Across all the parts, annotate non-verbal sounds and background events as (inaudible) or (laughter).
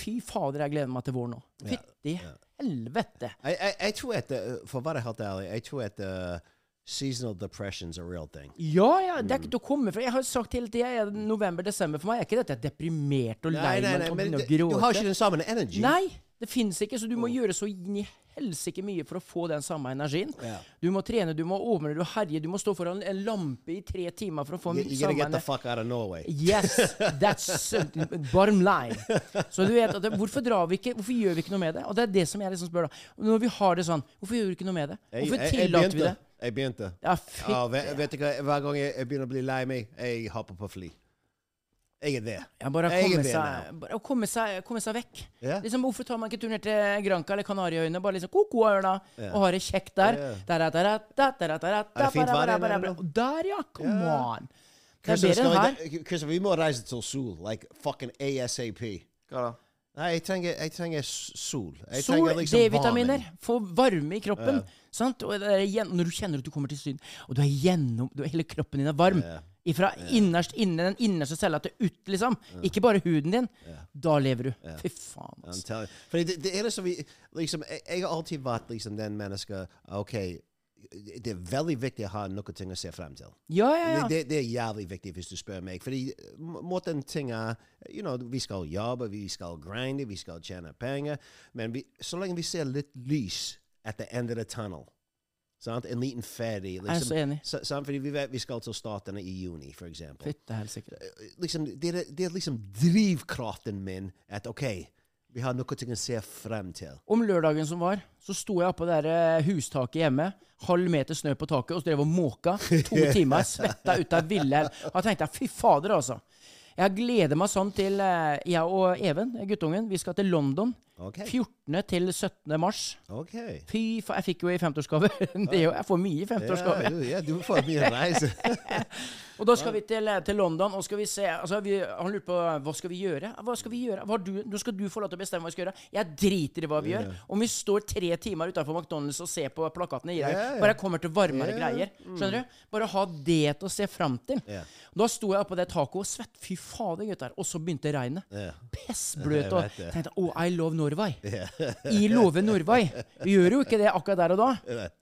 Fy fader, jeg gleder meg til vår nå. Ja, Fytti helvete! I, I, I tror at the, uh, for å være helt ærlig, jeg tror at uh, seasonal depression's a real thing. Ja, ja, det Mm. er ikke til å komme fra. Jeg har jo sagt hele tida november-desember for meg. Er ikke dette deprimert og lei Nei, nei, meg nei, og men begynner å det- du har gråte? ikke den Mm. samme energy. Nei, det fins ikke, så du må gjøre så inn i helsike mye for å få den samme energien. Ja. Du må trene, du må overne, du herje, du må stå foran en lampe i tre timer for å få You, den you gotta samme get the ener- fuck out of Norway. Yes, that's (laughs) bottom line. Så du vet at det, hvorfor, drar vi ikke, hvorfor gjør vi ikke noe med det? Og det er det som jeg liksom spør da. Når vi har det sånn, hvorfor gjør vi ikke noe med det? Jeg, Hvorfor jeg- jeg tillater vi begynte. det? Jeg begynte. Ja, fytti. Ja, Oh, ve- vet du hva, hver gang jeg, jeg begynner å e, bli lei meg, jeg hopper på fly. Jeg er der. Ja, bare Jeg er komme der seg, nå. bare å komme seg, komme seg vekk. Ja. Liksom, hvorfor tar man ikke turen ned til Granca eller Kanariøyene? Bare liksom koko av ørna og har det kjekt der. Ja. Da, da, da, da, da, da, da, da, Er det fint vær igjen, da, da, da. eller? Og Der, ja! Come Ja. on. Det er Christopher, bedre enn skal her. vi- uh, Christopher, vi må reise til sol. Like fucking ASAP. Hva da? Nei, jeg trenger, jeg trenger s- sol. Jeg Sol, trenger liksom D-vitaminer, varmen. få varme i kroppen. Sant? Og det er igjen, når du kjenner at du kommer til Syden, og du er gjennom du er, Hele kroppen din er varm. Ifra innerst inne, den innerste cella til ut, liksom. Ikke bare huden din. Da lever du. Fy faen, I'm altså. telling you. Fordi det, det eneste vi liksom, jeg, jeg har alltid vært liksom den mennesket OK, det er veldig viktig å ha noen ting å se frem til. Ja, ja, ja. Det, det, det er jævlig viktig hvis du spør meg. Fordi må- måten ting er you know, Vi skal jobbe, vi skal grinde, vi skal tjene penger. Men vi, så lenge vi ser litt lys at the end of the tunnel sant? En liten ferdig er så enig. så- sant? Fordi vi vet vi skal til Statene i juni, E for eksempel Fytte helsike. liksom, det, er, det er liksom drivkraften min at OK, vi har noe ting å se frem til. Om lørdagen som var, så sto jeg oppå det der, eh, hustaket hjemme. Halv meter snø på taket, og så drev og måka. (laughs) To timer, svetta ut av ville. Da tenkte jeg fy fader, altså. Jeg gleder meg sånn til eh, Jeg og Even, guttungen, vi skal til London. Ok. 14. til 17. mars. OK. (laughs) Fy faen, jeg fikk jo i 50-årsgave. (laughs) Det er jo- Jeg får mye i Ja, 50-årsgave. du, ja, du får mye reise. Og da skal vi til, til London, og skal vi se altså vi, Han lurte på hva skal vi gjøre. Hva skal vi gjøre? Hva har du, nå skal du få lov til å bestemme hva vi skal gjøre. Jeg driter i hva vi gjør. Om vi står tre timer utenfor McDonald's og ser på plakatene, gir jeg Ja, ja. bare jeg kommer til varmere Ja, ja. greier. Skjønner du? Bare ha det til å se fram til. Ja. Da sto jeg oppå det taket og svett. Fy fader, gutter. Og så begynte regnet. Ja. Pissbløt. Jeg Og vet det. tenkte oh, I love Norway. (laughs) I love Norway. Vi gjør jo ikke det akkurat der og da.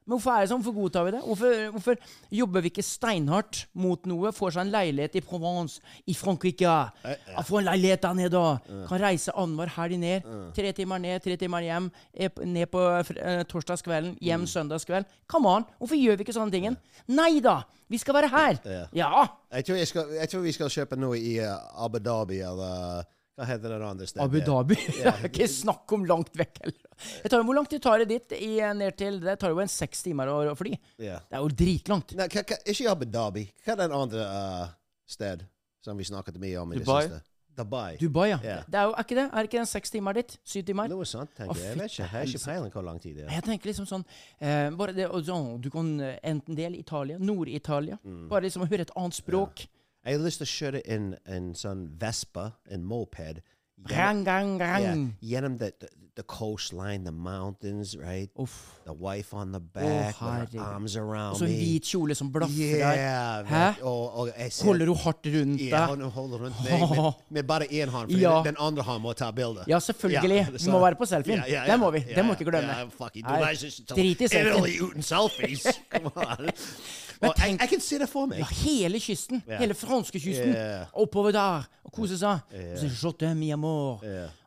Men hvorfor er det sånn? Hvorfor godtar vi det? Hvorfor, hvorfor jobber vi ikke steinhardt mot noe? Får seg en leilighet i Provence, i Frankrike. Jeg får en leilighet der nede. Kan reise annenhver helg ned. Tre timer ned, tre timer hjem. eh, p- Ned på fr- eh, torsdagskvelden, Mm. hjem søndagskveld. Come on! Hvorfor gjør vi ikke sånne tingen? Nei da! Vi skal være her! Ja! Jeg tror, jeg, skal, jeg tror vi skal kjøpe noe i eh, Abu Dhabi uh, eller Hva heter det andre stedet? Abu Dhabi. Det er (laughs) ikke snakk om langt vekk heller. Jeg tar, hvor langt det tar det dit? I, ned til, det tar jo en seks timer å å fly. Ja. Det er jo dritlangt. Nei, hva- hva- ikke Abu Dhabi. Hva er den andre eh, sted som vi snakket mye om i det Dubai? siste? Dubai. Dubai, ja. Ja. Det er jo er ikke det? Er ikke det en seks timer dit? Syv timer? Noe sånt, Å, tenker jeg. Jeg vet ikke. Jeg har ikke peiling hvor lang tid det Nei, er. Jeg tenker liksom sånn eh, Mm. bare det, og sånn, Du kan eh, enten dele Italia, Nord-Italia Bare liksom å høre et annet språk. Jeg har lyst til å kjøre en, en sånn Vespa, en moped, gjennom, Rang, rang, rang. yeah, gjennom the, the, the coastline, the mountains, right? Uff. The wife on the back, with her herregud. arms Og around så en me. hvit kjole som blafrer. Yeah, Oh, Hæ? right. Og, og jeg ser- Holder hun hardt rundt deg? Ja, hun holder rundt meg (laughs) med, med bare én hånd, for Ja. den andre hånden må ta bilde. Ja, selvfølgelig. (laughs) Vi må være på selfien. Det må vi. Det må vi ikke glemme. Ja, fucking, Nei, du reiser ikke til drit i selfien. Italy uten (laughs) selfies! Come on. Og jeg, tenk- jeg kan se det for Ja, meg. hele kysten. Hele franskekysten. Yeah. Oppover der. Og kose seg. Yeah. Jotte, mi amor.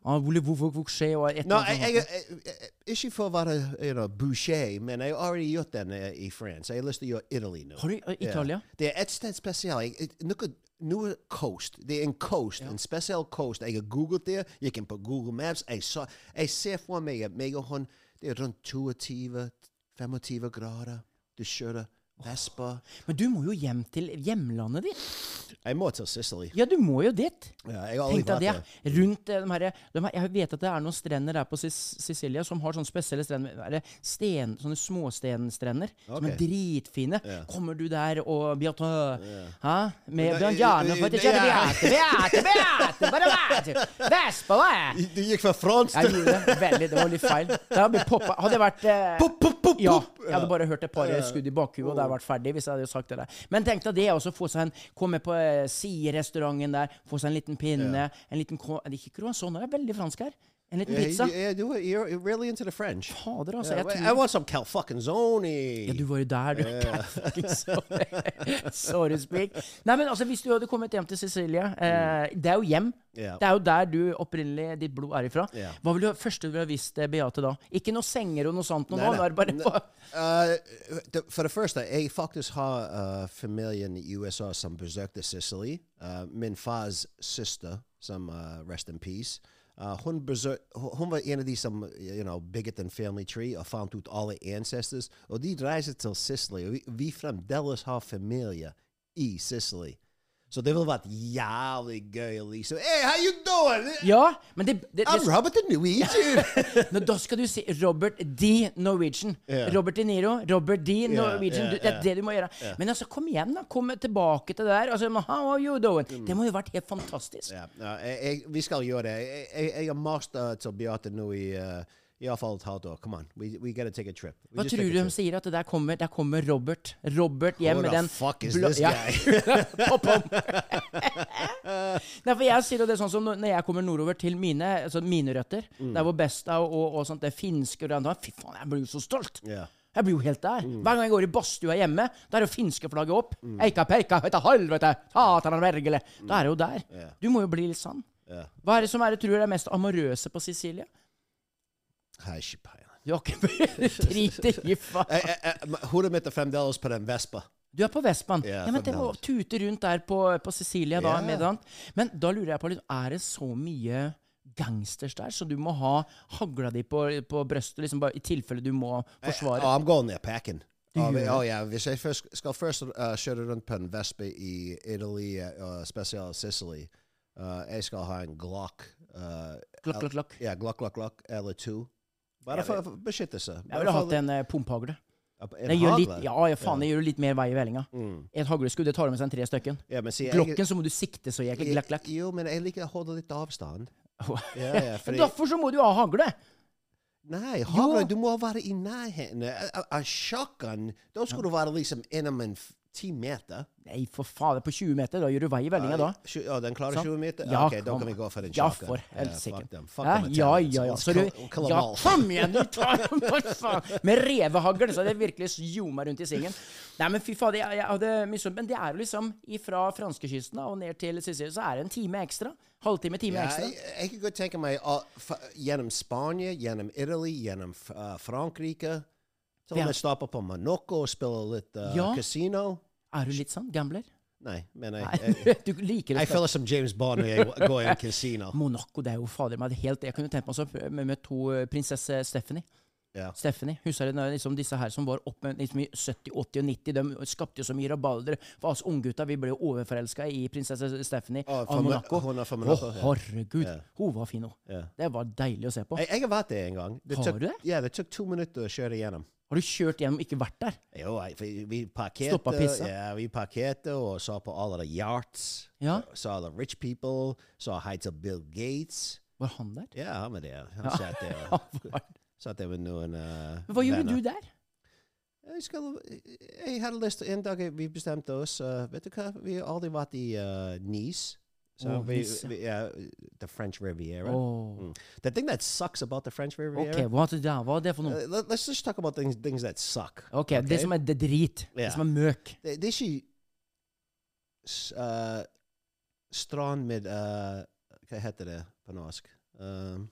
Ah, voulez-vous vous- vous coucher? Og et No, eller jeg, annet jeg, jeg, jeg, ikke for å være you know, boucher, men jeg har allerede gjort den eh, i France. Jeg har lyst til å gjøre Italy nå. Har du eh, Italia? Ja. Det er et sted spesielt. Jeg- jeg- Noe, noe coast. Det er en coast, en spesiell coast. Jeg har googlet det. Gikk inn på Google Maps. Jeg, så, jeg ser for meg at meg og hun Det er rundt 22-25 grader. Du kjører Vespa. Men du må jo hjem til hjemlandet ditt. Jeg må til Sicily. Ja, du må jo dit. Ja, jeg har aldri Tenk deg vært det. der. Rundt eh, de her, de her, jeg vet at det er noen strender der på Sis Sicilia som har sånne spesielle strender, er det sten, sånne småstenstrender som er Ok. dritfine. Kommer du der og Beate Hæ? Med Men da- Bjørnjarne for at det Ja. skjer Beate, Beate, Beate! Bare (laughs) Beate! Vespa, hva er det? Du gikk fra fransk Jeg gjorde det veldig, det var litt feil. Det hadde blitt poppa. Hadde jeg vært eh, Pop, pop, pop, Ja, pop. jeg hadde bare hørt et par skudd i bakhuet, og det hadde vært ferdig hvis jeg hadde sagt det der. Men tenk deg det, og så få seg en Komme på eh, siderestauranten der, få seg en liten pinne, en liten kro- er det Ikke croissant, nå er jeg veldig fransk her. En liten pizza. Yeah, you, yeah, you're you're really into the French. Fader, altså. Yeah, Jeg I tror want some cal fucking zoni. ja, du var jo der, du. (laughs) Fucking Sorry, Sorry speak. Nei, men altså, hvis du hadde kommet hjem til Cecilie eh, Det er jo hjem. Mm. Ja. Det er jo der du opprinnelig ditt blod er ifra. Ja. Hva ville du første du ville visst, eh, Beate, da? Ikke noe senger og noe sånt. Noe, Nei, nå nei. er det (laughs) bare Nei. Uh, det- for uh, det første, jeg faktisk har uh, familien i USA som besøkte Sicily. Uh, min fars søster, som uh, rest in peace, uh, hun, besøk, hun hun var en av de som uh, you know, bygget en family tree og fant ut alle ancestors. Oh, Og de reiste til Sicily. og Vi, vi fremdeles har familie i E, Sicily. Så det ville vært jævlig gøy. Liksom. Hey, how you doing? Ja, men det, det, det, I'm Robert the New Egypt. Nå, da skal du si Robert D. Norwegian. Robert De Niro, Robert D. Norwegian. ja, Du, det er det du må gjøre. Men altså, kom igjen, da. Kom tilbake til det der. Altså, how are you doing? Mm. Det må jo ha vært helt fantastisk. Ja, ja, jeg, jeg, vi skal gjøre det. Jeg, jeg, jeg har mast eh, til Beate nå i uh, iallfall et halvt år. Come on, we, we gotta take a trip. We Hva just tror take du de a trip. sier? At det der kommer, der kommer Robert Robert hjem Who med the den fuck is blå- this (laughs) (laughs) Pop-om. Nei, for jeg sier jo det sånn som når når jeg kommer nordover til mine, altså mine røtter Mm. Det er hvor besta og, og, og sånt, det finske og det andre Fy faen, jeg blir jo så stolt! Ja. Mm. Jeg blir jo helt der. Hver gang jeg går i badstua hjemme, da er jo finske flagget opp. Eika peika, etter halvete, satan og vergele. Mm. Da er det jo der. Du må jo bli litt sann. Hva er det som er det tror er mest amorøse på Sicilie? Hei, ikke peiling. Du har (laughs) ikke (laughs) driter i faen. Jeg- jeg- jeg- men Hodet mitt er fremdeles på den Vespa. Du er på Vestbanen. Ja, ja, men det å forbannet. tute rundt der på, på Sicilia da, Ja. med det annet. Men da lurer jeg på litt, er det så mye gangsters der, så du må ha hagla di på, på brøstet liksom bare, i tilfelle du må forsvare? Oh, I'm going there packing. Oh, gjør men- oh, ja. Hvis jeg først, skal først eh, kjøre rundt på en Vespa i Italy, eh, og spesielt Sicily, eh, jeg skal ha en Glock. eh, Klokk, klokk, klokk. Ja, Glock, Glock, Glock eller to. Bare for for beskyttelse. Jeg ville hatt en eh, pumphagle. en Det gjør litt, hagle. ja, ja, faen, det gjør litt mer vei i vellinga. Et hagleskudd det tar med seg en tre stykken. Ja, men si, jeg- Glokken så må du sikte så jæklig. Glakk, glakk. Jo, men jeg liker å holde litt avstand. Ja, ja, (laughs) Men fordi- Derfor så må du ha hagle! Nei, Hagla, Jo. du må være i nærheten. Eh, En shotgun, da skal du være liksom innom en f- ti meter. Nei, for faen, det er på 20 meter, da gjør du vei i vellinga da. Sju- Ja, den klarer Sant? 20 meter? Ja, ok, da kom. kan vi gå for en Ja, shotgun. for Ja, helsike. fuck them. Fuck Hæ? them ja, Italians. ja, ja. Let's Så du, kill- kill them ja, all. kom igjen, du tar (laughs) dem, for faen! Med revehagl, så det virkelig ljoma rundt i svingen. Nei, men fy fader, jeg, jeg hadde misunt. Men det er jo liksom fra franskekysten da, og ned til Sicily, så er det en time ekstra. Halvtime, time Ja, ekstra. jeg, jeg kan godt tenke meg ah, fa- gjennom Spania, gjennom Italy, gjennom ah, Frankrike. Så Ja. om jeg stopper på Monaco og spiller litt uh, Ja. casino. Er du litt sånn gambler? Nei, men Nei, jeg, (laughs) jeg, du liker å jeg spille. føler som James Bond når jeg går i en casino. Monaco, det er jo fader meg helt Jeg kunne tenkt meg å prøve med to eh, prinsesse Stephanie. Ja. Stephanie, husker du når liksom disse her som var oppe liksom i 70-, 80- og 90? De skapte jo så mye rabalder. For oss unggutta vi ble jo overforelska i prinsesse Stephanie Ja, fra av Mo- Monaco. hun er fra Monaco, Å, ja. herregud, Ja. hun var fin, hun. Ja. Det var deilig å se på. Jeg, jeg har vært der en gang. Har tok, du det? Ja, det tok to minutter å kjøre gjennom. Har du kjørt gjennom og ikke vært der? Jo, jeg- for vi parkerte, Stoppa og pissa. Ja, vi parkerte og så på alle de yachts. Ja. Så alle rich people. Så hei til Bill Gates. Var han der? Ja, han var der. Han Ja. (laughs) satt der. Han var der. Satt der med noen uh, Men hva gjorde du der? Jeg, skal, jeg hadde lyst til En dag vi bestemte oss eh, Vet du hva? Vi har aldri vært i eh, Nice. So Åh, vi, Nice, ja. vi, ja, the French Riviera. Åh. Mm. The thing that sucks about the French Riviera Ok, hva, da, hva er det for noe? uh, let, Let's just talk about things, things that suck. Ok, Det som er det drit. Ja. Det som er møk. Det, det er ikke s- eh, strand med eh, Hva heter det på norsk? Um,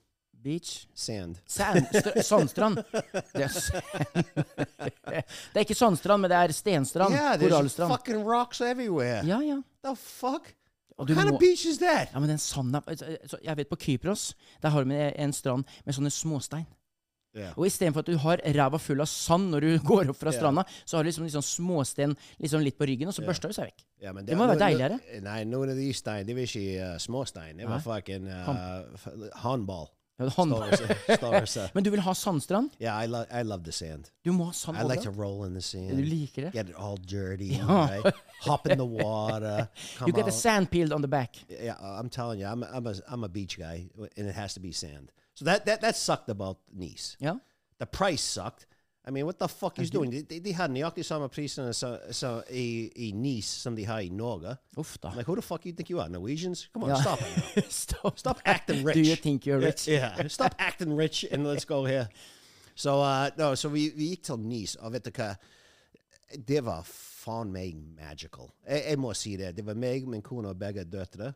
Beach. sand. Sand, str (laughs) sandstrand. Det er, s- (laughs) det er ikke sandstrand, men det er stenstrand. Yeah, there's korallstrand. fucking rocks everywhere. Ja, ja. The fuck? Og What du kind må- of beach is that? ja, men den sanda så altså, Jeg vet på Kypros, der har de en strand med sånne småstein. Yeah. Og istedenfor at du har ræva full av sand når du (laughs) går opp fra Ja. stranda, så har du liksom, liksom småsten liksom litt på ryggen, og så børster du seg vekk. Ja, men Det må være no- no- deiligere. Nei, noen av de stein, det var ikke uh, småstein. Det var Nei. fucking uh, Hånd- f- håndball. Ja, hånd- Størrelse- størrelse. (laughs) Men du vil ha sandstrand? uh, Yeah, I, lo- I love the sand. Du må ha sand I like to overalt. roll in the sand. Du liker det? Get it all dirty, (laughs) Ja. right? Hop in the (laughs) water. Come You get the out. sand peeled on the back. Yeah, I'm telling you, I'm a, I'm a, I'm a beach guy, and it has to be sand. So that, that, that sucked about Nice. Ja. The price sucked. I mean, what the fuck is doing? De, de har nøyaktig samme prisen som, som i, i Nice som de har i Norge. Uff da. I'm like, who the fuck you think you are? Norwegians? Come on, Ja. stop it. now. (laughs) Stop. (laughs) Stop acting rich. Do you think you're Yeah, rich? Yeah, Stop acting rich and let's go here. So, uh, no, so vi, vi gikk til Nice, og vet du hva? Det var faen meg magical. Jeg, jeg må si det. Det var meg, min kone og begge døtre,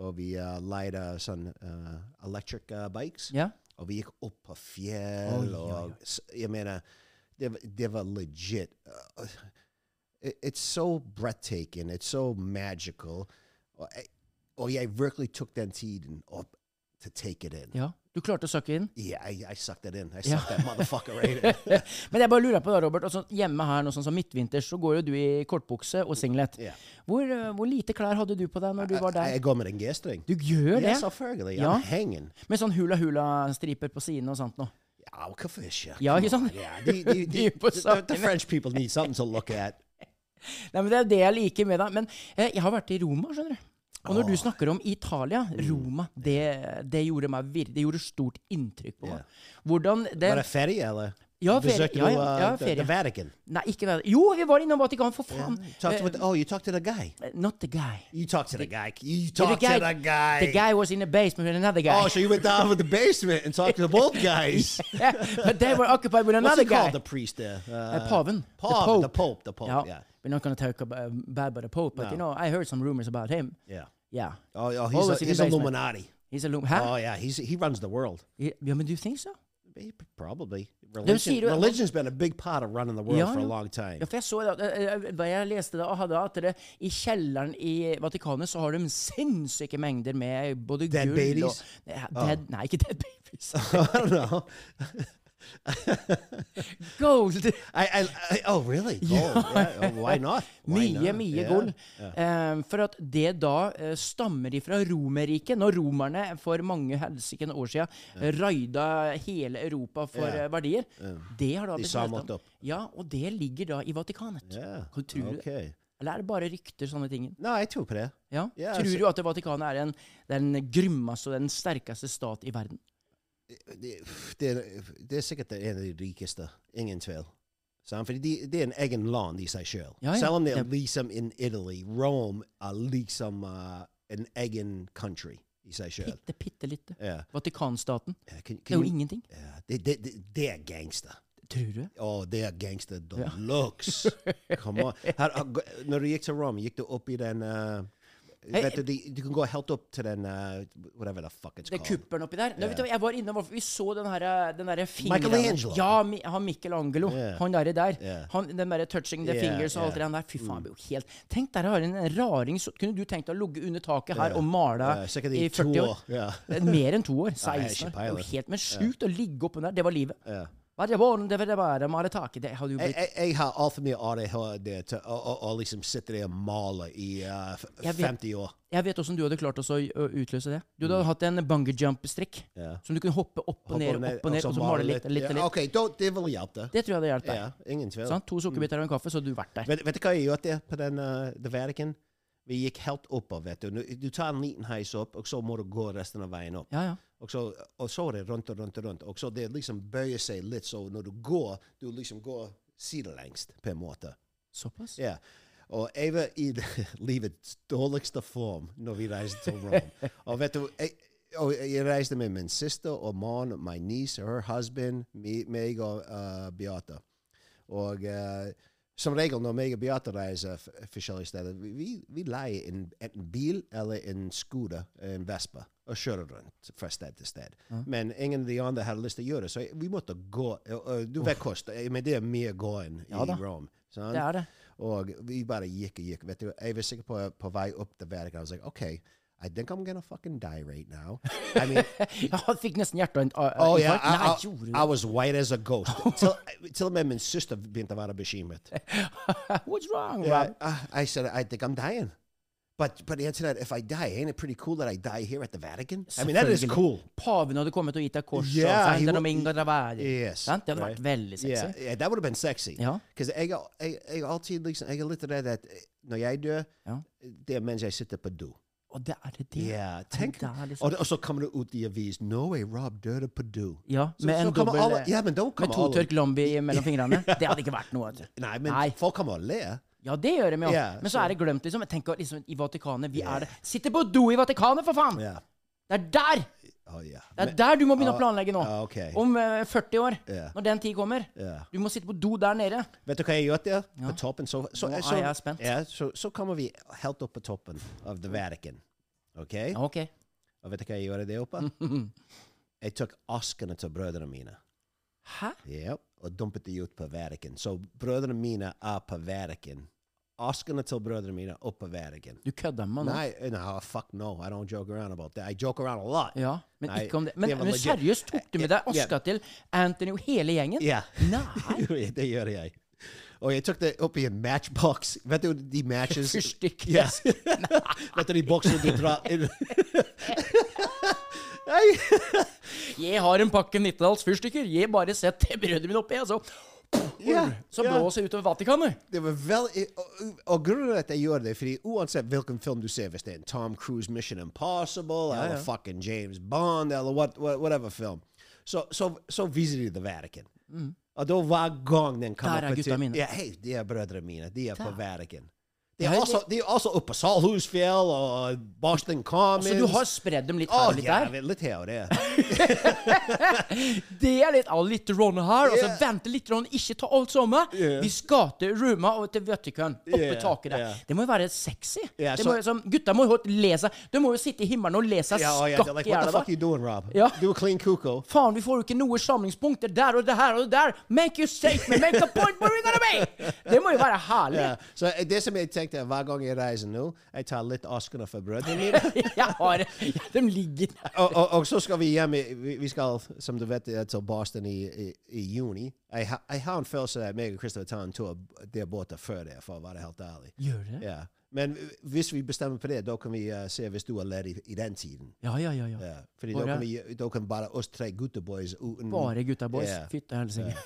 og vi uh, leide sånn uh, electric uh, bikes. Ja. Og vi gikk opp på fjell, Oi, oi, oi. og s- jeg mener, det, var- det var legit. Uh, it- It's so breathtaking, it's so magical. Og jeg, og jeg virkelig tok den tiden opp to take it in. ja. Du klarte å søke inn? Yeah, I, I sucked it in. I Ja. sucked that motherfucker right in. Men jeg bare lurer på det, Robert. Altså, hjemme her nå, sånn som midtvinters, så går jo du i kortbukse og singlet. Ja. Hvor, eh, hvor lite klær hadde du på deg når (laughs) du var Jeg- der? Jeg går med en G-streng. Du gjør det? Ja, selvfølgelig. Ja. I'm hanging. Med sånn hula-hula-striper på sidene og sånt nå. Ja, hvorfor ikke? Ja, Come ikke on, sant? ja. De, (laughs) de, de, De er på the, the sakene. French people need something to look (laughs) at. Nei, men Det er jo det jeg liker med deg. Men eh, jeg har vært i Roma, skjønner du. Og når du snakker om Italia, Mm. Roma, det, det gjorde meg vir det gjorde stort inntrykk på meg. Hvordan det Var det ferie, eller? Ja, ferie. Besøkte Ja, ja, du, uh, ja, the- ferie. The Vatican? Nei, ikke det. Jo, vi var innom Vatikan, for faen! Talked with, oh, you talked to the guy. Eh, Not the guy. You talked to the guy. You The talked to the guy. The guy was in the basement with another guy. Oh, so you went down with the basement and talked to (laughs) both guys. Yeah, (laughs) but they were occupied with What's another he guy. called, the priest there? Uh, Uh, Paven. Paven, the Pope. the Pope, the Pope, Yeah. yeah. We're not going to talk about, bad about the Pope, but you know, I heard some rumors about him. Yeah. Yeah. Oh, oh Always he's, a, in the he's basement. Illuminati. He's a lum- huh? Oh, yeah. He's, he runs the world. He- yeah, but do you think so? Eh, Probably. see, Religion, the- religion's been a big part of running the world Ja, for a ja. long time. (laughs) Ja, for jeg så det, at- eh, eh, hva jeg leste da, hadde at det, i kjelleren i Vatikanet så har de sinnssyke mengder med både Dead gull babies? og Ja, dead, Nei, ikke dead babies. I don't know. Gold! I, I, I, oh, really? Gold. (laughs) Yeah. Oh, why not? Why Mye, not? mye Yeah. gull. Eh, for at det da eh, stammer ifra Romerriket, når romerne for mange helsikende år siden raida hele Europa for Ja. eh, verdier. Det har da De blitt samlet snakket om. opp. Ja, og det ligger da i Vatikanet. Yeah. Kan du tro det? Okay. Eller er det bare rykter, sånne ting? No, I took it. Ja? Ja, altså- Tror så- du at det Vatikanet er en, det er den grymmeste og den sterkeste stat i verden? det, det, det er sikkert en av de rikeste. Ingen tvil. Sant? Fordi de, det er en egen land i seg sjøl. Ja, ja. Selv om det Ja. er liksom in Italy, Rome er liksom uh, en egen country i seg sjøl. Bitte, bitte lite. Ja. Vatikanstaten. Ja, Det kan- er kan jo du- ingenting. Ja, det, det, det, det er gangster. Tror du? Å, det er gangster deluxe. (laughs) Come on. Her, har gå- når du gikk til Rome, gikk du opp i den uh, Hey, vet du, de, du kan gå helt opp til den uh, Whatever the fuck it's Det er called. kuppelen oppi der. Nå, vet du, hva, jeg var inne, Vi så den her, den her fingeren. Michelangelo. Ja, Mi- han Michelangelo. Yeah. Han derre der. Yeah. Han, den derre touching the Yeah, fingers og alt det yeah. der. Fy faen, det blir jo helt Tenk der har en raring så, Kunne du tenkt deg å ligge under taket her Yeah. og male Yeah, sikkert i i to 40 år? Eh, år, yeah. Mer enn to år. Nei, 16 år. ikke Det er jo peiling. helt Men sjukt å ligge oppunder der. Det var livet. Ja. Hva er det barn, det vil det være, maritake? Det har du Jeg, blitt jeg, jeg har altfor mye av det her der til å, å, å liksom sitte der og male i eh, f- Jeg vet- 50 år. Jeg vet åssen du hadde klart også å å utløse det. Du hadde hatt en bungee jump-strikk Ja. som du kunne hoppe opp og ned, opp og ned, og så male litt og litt og Ja, litt. OK, da, det ville hjulpet. Det tror jeg hadde hjulpet deg. Ja, ingen tvil. Sant? To sukkerbiter og en kaffe, så hadde du vært der. Vet, vet du hva jeg gjorde på den eh, The Vatican? Vi gikk helt oppå, vet du. Du tar en liten heis opp, og så må du gå resten av veien opp. Ja, ja. Og så, og så er det rundt og rundt og rundt. Og så det liksom bøyer seg litt, så når du går, du liksom går sidelengs, på en måte. Såpass? (laughs) Ja. Og jeg var i (laughs) livets dårligste form når vi reiste til Rom. og vet du, jeg, og jeg reiste med min søster og mann, min niece, her husband, me- meg og uh, Beate. Og eh, som regel når meg og Beate reiser f- forskjellige steder, vi- vi, vi leier en, enten bil eller en scooter, en Vespa, og kjører rundt fra sted til sted. Men ingen av de andre hadde lyst til å gjøre det, så vi måtte gå. og- og du vet hvordan, men det er mye gåing i Ja da. Rom. sant? Det er det. Og vi bare gikk og gikk. Vet du, jeg var sikker på, på vei opp til Vatican. I was like, okay, I think I'm gonna fucking die right now. I (laughs) mean, Jeg fikk nesten hjerteinfarkt. oh yeah, Nei, I, gjorde I, du I was white as a (laughs) ghost. till, till og med min søster begynte å være bekymret. det? (laughs) What's wrong, Yeah, uh, Rob? I, I said, I think I'm dying. But but the answer to that, if I die, ain't it pretty cool that I die here at the Vatican? I mean, that is Selvfølgelig. cool. Paven hadde kommet og gitt deg kors. altså, Yeah, og he sendte would- dem inn og ravær. Yes, Sant? Det hadde right. vært veldig sexy. Yeah, yeah, that would have been sexy. e, Ja. Because jeg, har- jeg, jeg har alltid liksom, jeg har litt av det at eh, når jeg dør, Ja. det er mens jeg sitter på do. Og det er det det. Ja, tenk. Det er liksom- Og, og så kommer det ut i avisen Norway Rob døde på do. Ja, Så- med så en kommer dobbel eh, alle- ja, men da Med kommer to alle- tørk lambi mellom fingrene. Det hadde ikke vært noe. vet du. Nei, men Nei. folk kommer og ler. Ja, det gjør de jo. Ja, Men så så- er det glemt, liksom. Jeg tenker liksom, I Vatikanet, vi er det. Sitter på do i Vatikanet, for faen! Ja. Det er der! Å, ja. Det er Men- der du må begynne å Ah, planlegge nå. ah, ok. Om eh, 40 år. Ja. Når den tid kommer. Ja. Du må sitte på do der nede. Vet du hva jeg gjør der? På toppen, så, så, Nå er så, jeg spent. Ja, så, så kommer vi helt opp på toppen av The Vatican. Ok? Ja, OK. Og vet du hva jeg gjorde der oppe? (laughs) jeg tok askene til brødrene mine. Hæ? Yep, og dumpet de ut på Vatican. Så brødrene mine er på Vatican. Askene til brødrene mine er oppe på Vatican. Du kødder med meg nå. Nei, no, fuck no. I don't joke around about that. I joke around a lot. Ja, men Nei, ikke om det. Men, det var men legit. Eh, seriøst, tok du med deg Ja. aska til Anthony og hele gjengen? Ja. (laughs) Nei. det gjør jeg. Og jeg tok det opp i en matchbox. Vet du de matches Fyrstikk. Ja. (laughs) Vet du de boksene du drar inn? Nei. Jeg har en pakke Nittedals fyrstikker. Jeg bare setter brødet mitt oppi, altså. (laughs) Ja, Så ja. blåser jeg utover Vatikanet. Det var vel, eh, og, og grunnen til at jeg gjorde det, fordi uansett hvilken film du ser, hvis det er en Tom Cruise Mission Impossible, eller fucking James Bond, eller what, what, whatever film, så så- så viser de The Vatican. Og da hver gang den kommer Der er på gutta TV mine. Ja, hei, de er brødrene mine. De er på Vatican. De Ja, er, det- også, de er også oppe på Salhusfjell og Boston Commons. Oh, Så Altså, du har spredd dem litt Å, her og litt ja, der? litt her og der. Det er litt av litt rånn her, og så Yeah. venter litt rånn, ikke ta alt sammen. Yeah. Vi skal til Roma og til Vatikan, oppe Yeah, taket der. yeah. Det må jo være sexy. Yeah, det så- må, jo som, gutta må jo holdt le seg. De må jo sitte i himmelen og le seg Ja, og ja, skakk oh, like, i what the hjel. fuck you doing, Rob? Ja. Du er clean cuckoo. Faen, vi får jo ikke noe samlingspunkt. Det er der og det her og det der. Make your statement, make a point where you're gonna be! Det må jo være herlig. Ja. Så eh, det som jeg tenkte hver gang jeg reiser nå, jeg tar litt askene for brødrene (laughs) mine. Jeg har ja, De ligger der. og, og, og så skal vi hjem i, vi, vi skal, som du vet, eh, til Boston i, i, i juni. Jeg, ha, jeg har en følelse at meg og Christopher tar en tur der borte før det, for å være helt ærlig. Gjør det? Ja. Men hvis vi bestemmer på det, da kan vi eh, se hvis du er ledig i den tiden. Ja, ja, ja. ja. Ja. Fordi Hvor da kan, er- vi, da kan bare oss tre gutteboys uten Bare gutta boys. Ja. Fytte helsike.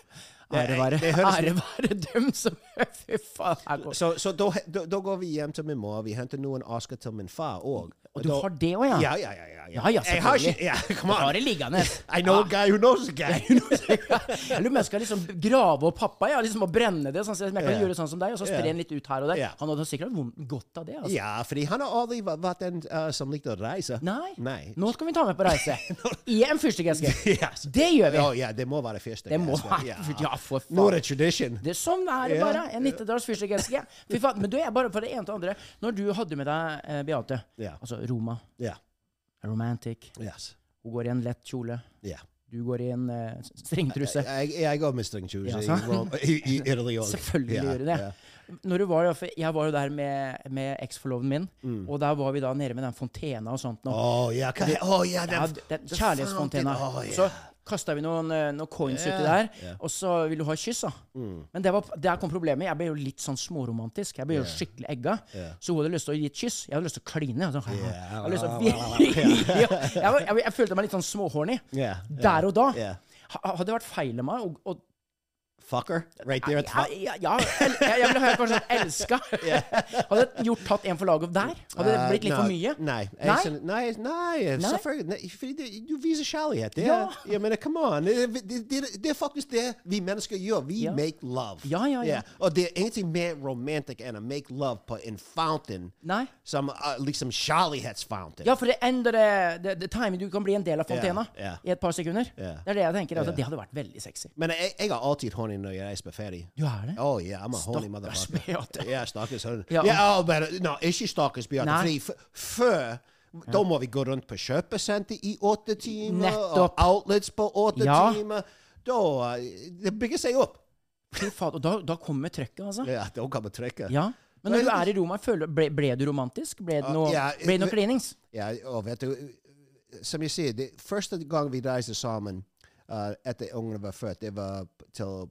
Det- Ære være det høres- ære være dem som (laughs) Fy faen. her går- Så, så da, da, da går vi hjem til min mor. Vi henter noen Oscar til min far òg. Og du har det også, ja? Ja, ja, ja. ja, Ja, ja, jeg har selvfølgelig. ikke ja, Come on. Har det liggende. (laughs) I know a guy who knows a (laughs) guy. Jeg lurer om jeg skal liksom grave opp pappa ja, liksom og brenne det. Sånn, at jeg kan Ja. gjøre sånn som deg, og så spre Ja. den litt ut her og der. Ja. Han hadde sikkert hatt vondt- godt av det. altså. ja, fordi han har aldri væ- vært den eh, som likte å reise. Nei. Nei. Nå (laughs) skal vi ta med på reise. I en fyrstikkeske. Yes. Det gjør vi. Å, ja, det må være første. Det må yes, være (laughs) Ja, for faen. Nå er det tradition. Det, sånn er det Ja. bare. En nittedals fyrstikkeske. Fy faen. Men du er bare for det ene til det andre. Når du hadde med deg eh, Beate, Ja. altså Roma, Ja. romantic, Yes. hun går i en lett kjole, Ja. du går i en eh, s- stringtruse. Jeg, jeg går med string shoes Ja, i, sant? Rome- i, i Italy òg. Selvfølgelig gjør du det. Når du var, der- for jeg var jo der med, med eksforloven min, Mm. og der var vi da nede med den fontena og sånt. nå. Å ja, hva- å, ja, Ja, den, den kjærlighetsfontena. fountain, å, ja. Så kasta vi noen, eh, noen coins uti Ja, Mm. der, og så vil du ha et kyss, da. Men det var, der kom problemet. Jeg ble jo litt sånn småromantisk. Jeg ble jo skikkelig egga. Så hun hadde lyst til å gi et kyss. Jeg hadde lyst til å kline. Jeg, sånn, jeg, hadde lyst til å (laughs) virkelig- Ja, jeg, var- jeg, jeg følte meg litt sånn småhorny Yeah. yeah, der og da. Yeah. Ha- Hadde det vært feil av meg å å- Fucker. Right there ja, at fuck. ja, ja, el- jeg, jeg ville ha kanskje sagt 'elska'. (laughs) Hadde jeg gjort tatt en for laget der? Hadde det Eh, blitt litt nei, for mye? Nei. Nei? Nei, nei, nei. Nei? Selvfølgelig. nei fordi det- du viser kjærlighet. Det, Ja. er- Jeg mener, come on. Det, det, det, det er faktisk det vi mennesker gjør. Vi Ja. make love. Ja, ja, ja. Og det er ingenting mer romantic enn å make love på en fountain Nei. som uh, liksom kjærlighetsfountain. Ja, for det endrer det, det timer du kan bli en del av fontena ja. i et par sekunder. Ja. Det er det jeg tenker. Altså, Det hadde vært veldig sexy. Men jeg, jeg har alltid horny når jeg reiser på ferie. Du er det? Oh yeah, I'm a horny Stakkars motherfucker. Beate. Ja, stakkars horny. Ja. Ja, ja oh, men, no, ikke stakkars Beate. Nei. Fordi f- før da må vi gå rundt på kjøpesenter i åtte timer. Nettopp. Og outlets på åtte Ja. timer. Da eh, Det bygger seg opp. Fy faen. Og da, da kommer trøkket, altså. Ja, da kan man trekke. Ja. Men når du er i Roma, føler, ble, ble du romantisk? Ble det Ah, noe, ja, ble det noe men- klinings? Ja, og vet du, som jeg sier, det første gang vi reiste sammen eh, etter ungene var født, det var p- til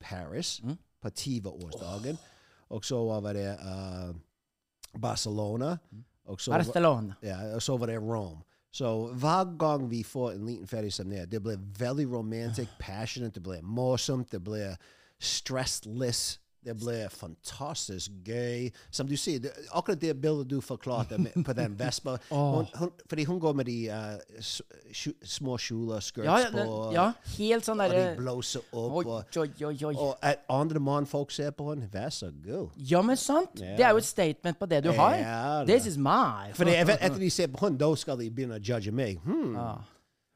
Paris på 20-årsdagen. Og så var det eh, Barcelona. Og så, var- Barcelona. ja, og så var det Rome. Så hver gang vi får en liten ferie som det, det blir veldig (sighs) romantisk, passionate, det blir morsomt, det blir stressless. Det blir fantastisk gøy. Som du sier, det, akkurat det bildet du forklarte med- på (laughs) den vespa Oh. hun, hun, Fordi hun går med de eh, s- sju- små kjoler, skirts Ja, ja, på, det- ja, helt sånn og de derre blåser opp. Oi, og, oi, oi, oi. og at andre mannfolk ser på henne, vær så god. Ja, men sant? Det er jo et statement på det du har. Ja, det- This is my (laughs) For det- etter de ser på henne, da skal de begynne å judge meg. Hmm, Ah.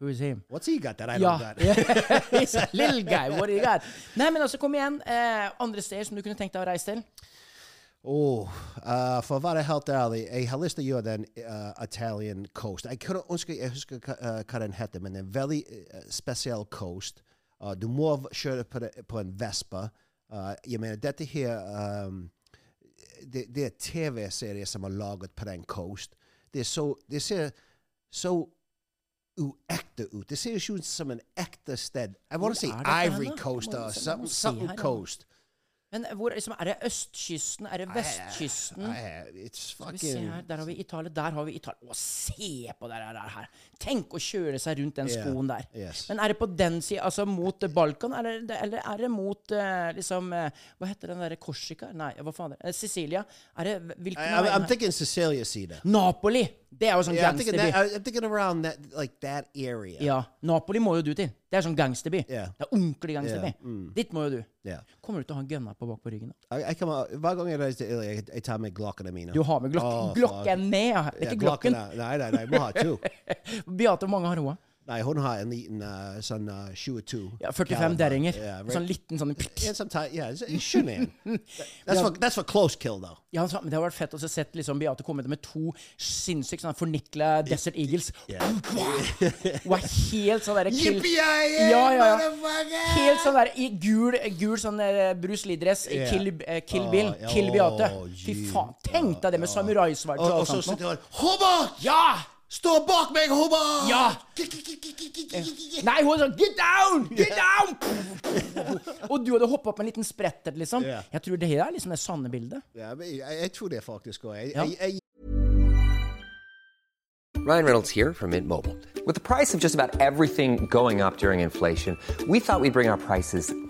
Who is him? what's he got that I Ja. don't got? (laughs) He's a Little guy, what do you got? Nei, men altså, kom igjen. Eh, andre steder som du kunne tenkt deg å reise til? Oh, uh, for å være helt ærlig, jeg har lyst til å gjøre den uh, Italian coast. Jeg kunne ønske jeg husker hva, uh, hva den heter, men det er en veldig uh, spesiell coast. Uh, du må v- kjøre på, det, på en Vespa. Uh, jeg mener, dette her um, det, det er TV-serier som er laget på den coast. Det, er så, det ser så uekte ut. Det ser ikke ut som en ekte sted. Jeg Hvor vil si er dette hen, Ivory da? Coast Jeg må- eller jeg må something, se her, something ja. coast. Men hvor, liksom, er det østkysten? Er det vestkysten? I, I, it's Skal vi se fucking... her, Der har vi Italia. Der har vi Italia. Å, se på det der! her. Tenk å kjøre seg rundt den Ja, skoen der. yes. Men er det på den sida, altså mot eh, Balkan, eller, eller er det mot eh, liksom eh, Hva heter den derre Korsika? Nei, hva faen er det? Eh, Sicilia? Er det Hvilken I, I'm, av I'm veiene? thinking Cecilia Cedar. Napoli! Det er jo sånn Yeah, I'm thinking gangsterby. that. I- I'm thinking around that, like that area. Ja. Napoli må jo du til. Det er sånn gangsterby. Ja. Det er ordentlig gangsterby. Dit må jo du. Yeah. Kommer du til å ha en gunna på bak på ryggen? da? I, I come out. Hver gang jeg reiser til Italy, jeg, jeg tar med Glocken min. Du har med glok Åh, fuck. glokken med! ja. Ja, Ikke glokken. er- Nei, nei, nei, jeg må ha to. Beate, hvor mange har hun? Nei, hun har en liten uh, sånn uh, 22. Ja, 45 caliber. derringer. Yeah, right. Sånn liten sånn Yeah, sometimes, yeah, it's, it shouldn't. that's, for, that's for close kill, though. Ja, han sa, men Det hadde vært fett å se sett liksom Beate komme med to sinnssykt sånne fornikla Desert Eagles. Hun er helt sånn derre kill- Ja, Yippee-yay, ja, ja. motherfucker! Helt sånn der i gul, gul sånn der Bruce Lee-dress. i Yeah. Kill, eh, kill Bill. Åh, Ah, ja, kill Beate. åh, Fy Gud. faen. Tenk deg det med samuraisverd. Og, og så sånt sitter noe. hun Hobart! Ja! Stå bak meg, Hobart! Ja! Nei, hun er sånn Get down! Get down! (laughs) Og du hadde hoppa opp med en liten sprettert, liksom. Yeah. Jeg tror det her er liksom det sanne bildet. Ja, men jeg, jeg tror det faktisk òg. Jeg, Ja. jeg, jeg Ryan Reynolds here from Mint Mobile. With the price of just about everything going up during inflation, we thought we'd bring our prices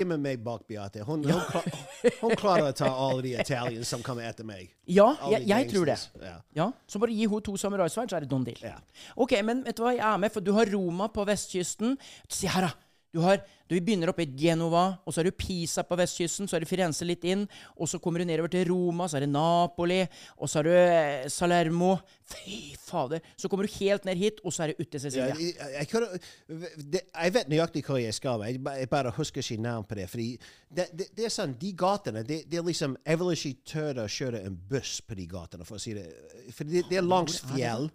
MMA bak, Beate. Hun, hun, kla- hun klarer å ta alle de italienere som kommer etter meg. Ja, Alle jeg, jeg tror det. gangsters, ja. Ja, Så bare gi henne to samuraisverd, så er det done deal. Ja. Ok, men vet du hva, jeg er med, for du har Roma på vestkysten. Se her, da. Du har, du vi begynner oppe i Genova, og så har du Pisa på vestkysten, så er det Firenze litt inn, og så kommer du nedover til Roma, så er det Napoli, og så har du eh, Salermo. Fy fader. Så kommer du helt ned hit, og så er det ute til Cecilia. Ja, jeg, jeg, kunne- det- jeg vet nøyaktig hvor jeg skal, men jeg ba- jeg bare husker ikke navn på det. Fordi det, det, det er sånn, de gatene det, det er liksom, Jeg vil ikke tørre å kjøre en buss på de gatene, for å si det. For det, det er langs fjell.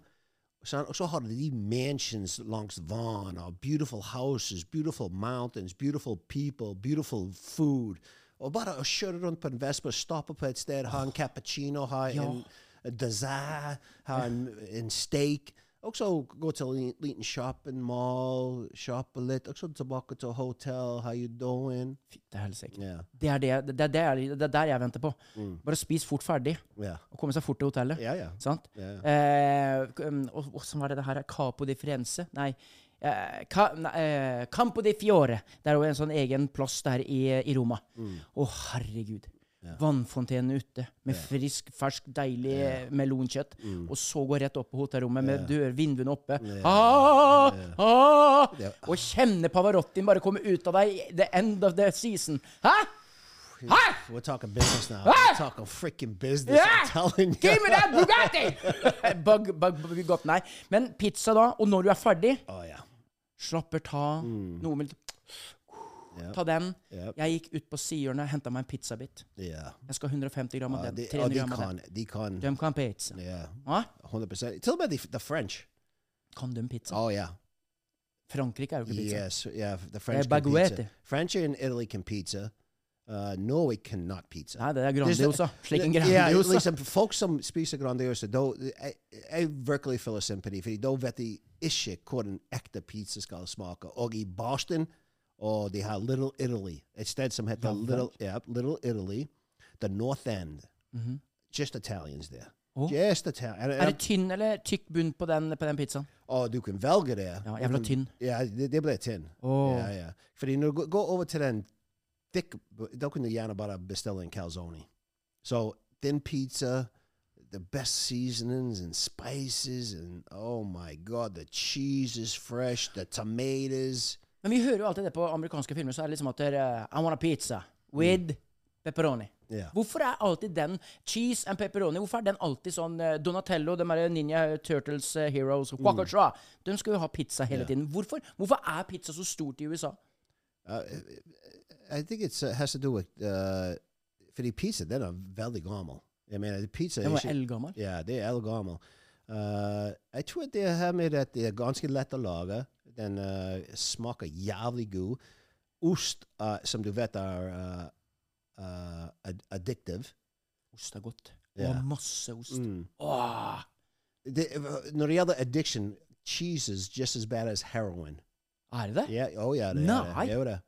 sant? Og så har du de mansions langs vann, og beautiful houses, beautiful mountains, beautiful people, beautiful food. Oh, Og bare å kjøre rundt på en Vespa, stoppe på et sted, ha en (sighs) cappuccino, ha en en dessert, ha en, en steak. Og så gå til en liten shopping mall, shoppe litt, og så tilbake til hotell, how you doing? Det er helsike. Ja. Mm. Det er, det, jeg- det, er det, jeg- det er der jeg venter på. Bare spis fort ferdig, Ja. og komme seg fort til hotellet. Ja, ja. Sant? Ja, Eh, k- um, og hvordan var det det her? Capo di Firenze? Nei. eh, Ka, nei, eh, Campo di Fiore. Det er jo en sånn egen plass der i, i Roma. Å, Mm. herregud. Vannfontenen ute, med frisk, fersk, deilig eh, melonkjøtt. Mm. Og så gå rett opp på hotellrommet med dør, vinduene oppe. Ah, ah, og kjenne Pavarottin bare komme ut av deg the end of the season. Hæ? Hæ? We're talking business now. Ah! We're talking freaking business, I'm Yeah! telling you. Give me that Bugatti! (laughs) bug, bug, bug, bug, nei. Men pizza da, og når du er ferdig, (laughs) Oh, ja. slapper ta, Mm. noe med litt Ta den. Yep. Jeg gikk ut på sidehjørnet og henta meg en pizzabit. Ja. Jeg skal ha 150 gram av Ah, den. de, oh, 300 de gram av kan, den. de kan. De kan pizza. Ja, Hva? 100%. Til og med the, the French. Kan de pizza? Oh, yeah. Frankrike er jo ikke pizza. Yes, yeah, the French can baguette. pizza. French and Italy can pizza. Uh, Norway cannot pizza. Nei, det er There's Grandiosa. Slik en Yeah, (laughs) Grandiosa. liksom, folk som spiser Grandiosa, e, da, jeg, jeg virkelig føler sympati, fordi da vet de ikke hvordan ekte pizza skal smake. Og i Boston, og de har Little Italy, et sted som heter Little, yeah, Little Italy, the North End. Just Italians there. Oh. Just Italian. Mhm. Er det tynn eller tykk bunn på den, på den pizzaen? Og du kan velge det. Ja, Du jævla kan- tynn. Ja, det, det ble tynn. Åh. Ja, ja. Fordi når du går- går over til den thick, da kunne du gjerne bare bestille en calzone. Så thin pizza, the best seasonings and spices, and oh my god, the cheese is fresh, the tomatoes. Men vi hører jo alltid det på amerikanske filmer, så er det liksom at det er, eh, I want a pizza with pepperoni. Mm. Ja. Hvorfor er alltid den cheese and pepperoni Hvorfor er den alltid sånn eh, Donatello, de her Ninja Turtles eh, Heroes, Mm. Quackatra De skal jo ha pizza hele tiden. Hvorfor, hvorfor er pizza så stort i USA? I think it uh, has to do with, uh, fordi pizza, den er veldig gammel. Jeg mener, pizza er Den var ikke- eldgammel. Ja, det er eldgammel. Uh, jeg tror det her med at det er ganske lett å lage. Den uh, smaker jævlig god. Ost, uh, som du vet er uh, uh, ad- addictive. Ost er godt. Ja. Mm. Og masse ost. Åh, Det, når det gjelder addiction, cheese is just as bad as heroin. er det det? Ja, oh, ja, det er Nei. det. Jo da.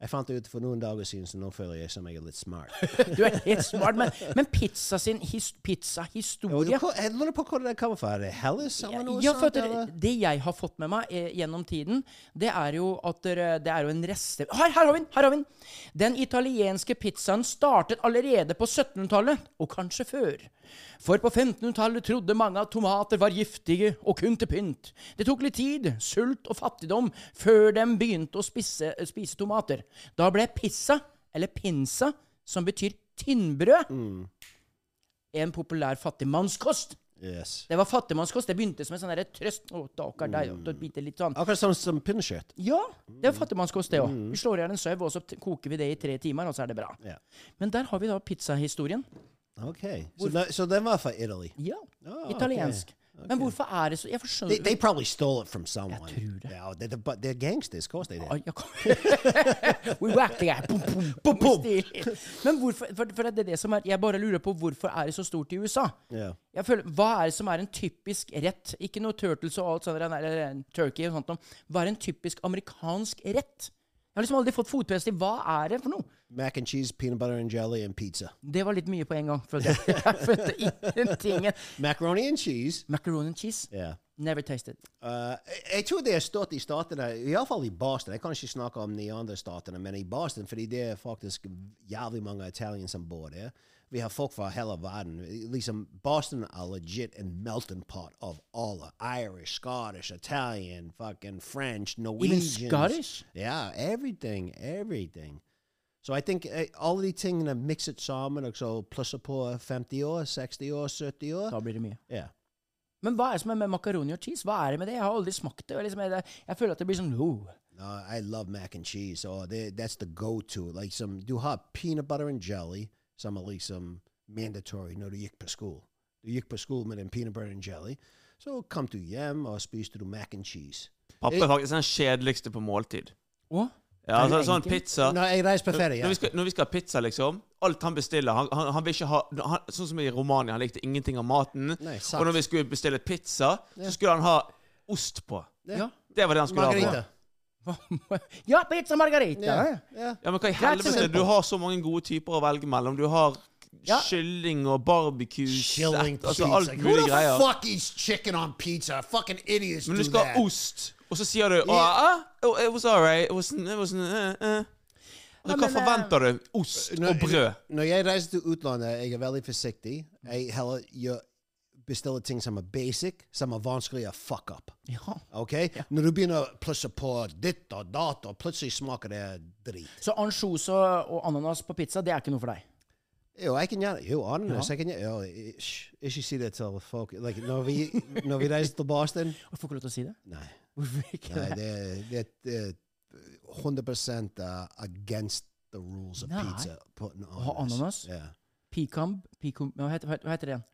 Jeg fant det ut for noen dager siden, så nå føler jeg som jeg er litt smart. (laughs) Du (laughs) er helt smart, men, men pizza sin his, pizzahistorie Jeg lurer på hvor det kommer fra. Er det Hellas eller noe sånn eh, Ja, for at sånt? dere- eller? det jeg har fått med meg eh, gjennom tiden, det er jo at dere- det er jo en reste... Her, her har vi den! her har vi Den Den italienske pizzaen startet allerede på 1700-tallet, og kanskje før. For på 1500-tallet trodde mange at tomater var giftige og kun til pynt. Det tok litt tid, sult og fattigdom, før de begynte å spise, spise tomater. Da ble pizza, eller pinsa, som betyr tynnbrød, en populær fattigmannskost. Yes. Det var fattigmannskost. Det begynte som en sånn derre trøst. Å, stakkar deg. og et bitte litt sånn. Akkurat sånn som pinnekjøtt. Ja, det er fattigmannskost, det òg. Vi slår i hjel en sau, og så t- koker vi det i tre timer, og så er det bra. Ja. Men der har vi da pizzahistorien. Okay. So, that, so then off of Italy. Ja. Ah, Italiensk. Men hvorfor er det så Jeg They, skjønner they probably stole it from someone. tror det. Yeah, they're, the- but they're gangsters. Of course they did. Oi, jeg kom- (laughs) We whack the guy. Boom, boom, boom, boom. Stilig. Men hvorfor for, for det er det som er Jeg bare lurer på hvorfor er det så stort i USA? Ja. Jeg føler, Hva er det som er en typisk rett? Ikke noe turtles og alt sånt, eller, eller turkey og sånt noe. Hva er en typisk amerikansk rett? Jeg har liksom aldri fått fotfeste i hva er det for noe? Mac and cheese, peanut butter and jelly, and pizza. Det var litt (laughs) mye på en gang. følte Jeg Jeg følte ingenting. Macaroni and cheese. Macaroni and cheese. Yeah. Never tasted. Eh, jeg tror det er stort i statene, iallfall i Boston. Jeg kan ikke snakke om de andre statene, men i Boston, fordi det er faktisk jævlig mange italienere som bor der. Vi har folk fra hele verden. Liksom, Boston er legit en melting pot of alle. Irish, Scottish, Italian, fucking French, Norwegians. Scottish? Yeah, everything, everything. Så jeg tenker eh, alle de tingene mikset sammen, og så plusser på 50 år, 60 år, 70 år. Da blir det mye. Ja. Men hva er det som er med makaroni og cheese? Hva er det med det? Jeg har aldri smakt det. og Liksom, jeg, jeg føler at det blir sånn oh. No, I love mac and cheese. Or they, that's the go-to. Like some do hot peanut butter and jelly. Some at least some mandatory. No, the yik per school. The yik per school and then peanut butter and jelly. So come to yam or spise to do mac and cheese. Eh, Pappa er faktisk den kjedeligste på måltid. Å? Ja, Er det altså, sånn enkelt? pizza no, it is når, pathetic. når, vi skal, når vi skal ha pizza, liksom Alt han bestiller Han, han, han vil ikke ha han, Sånn som i Romania, han likte ingenting av maten. Nei, sant. og når vi skulle bestille pizza, så skulle han ha ost på. Ja. Det var det han skulle ha. Margarita. På. (laughs) ja, pizza margarita! Yeah, yeah. Ja, men hva i That's helvete? Du simple. har så mange gode typer å velge mellom. Du har Ja. kylling og barbecue (laughs) Chilling set, altså pizza. alt Who mulig the greier. fuck eats chicken on pizza? Fucking idiots Men do du skal that. ha ost, og så sier du oh, Ja. ah, oh, It was all right. It wasn't, it wasn't, eh, eh. Altså, Ja, hva men, eh, forventer du? Ost Når- og brød. Når jeg reiser til utlandet, jeg er veldig forsiktig. Jeg heller gjør, bestiller ting som er basic, som er vanskelig å fuck up. Ja. Ok? Når du begynner å plusse på ditt og datt, og plutselig smaker det drit. Så ansjos og, og ananas på pizza, det er ikke noe for deg? Jo, jeg kan gjerne Jo, ananas. Jeg kan gjerne jo, ish, Ikke si det til folk. Like, når, vi, når vi reiser til Boston Jeg får ikke lov til å si det? Nei. Hvorfor ikke nei det? det, det, det er 100 uh, against the rules of Nei. pizza. På, en ha ananas? Ja. Pecan pecan- Hva heter, hva heter det igjen?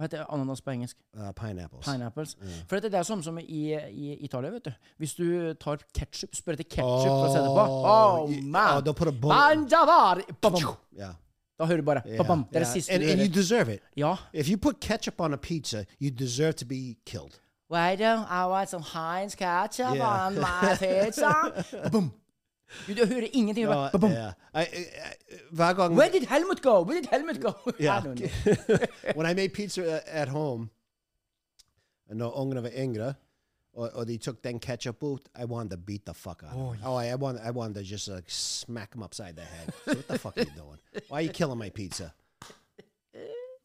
Hva heter ananas på engelsk? Uh, pineapples. Pineapples. For dette, det er sånn som i, i Italia, vet du. Hvis du tar ketsjup, spør etter ketsjup for å se det på Oh, Oh, yeah. man! Oh, da put a bun- Banjavar! Ba-bam. Yeah. Da hører du bare Yeah, ba-bam. Det er det yeah. siste and, du and you hører. deserve it. Ja. If you put ketchup on a pizza, you deserve to be killed. Why don't I want some Heinz ketchup Yeah. on (laughs) my pizza? Ba-bum. Du, du hører ingenting. Du bare, Ja, eh. ba-bum. ja. Uh, I- I- I- hver gang- Where did Helmut go? Where did Helmut go? (laughs) Yeah. I don't know. when I made pizza a- at home, no ungern var yngre, or, or they took then ketchup out, I wanted to beat the fuck out. Oh, oh I, I want, I wanted to just like smack him upside the head. So what the fuck are you doing? Why are you killing my pizza?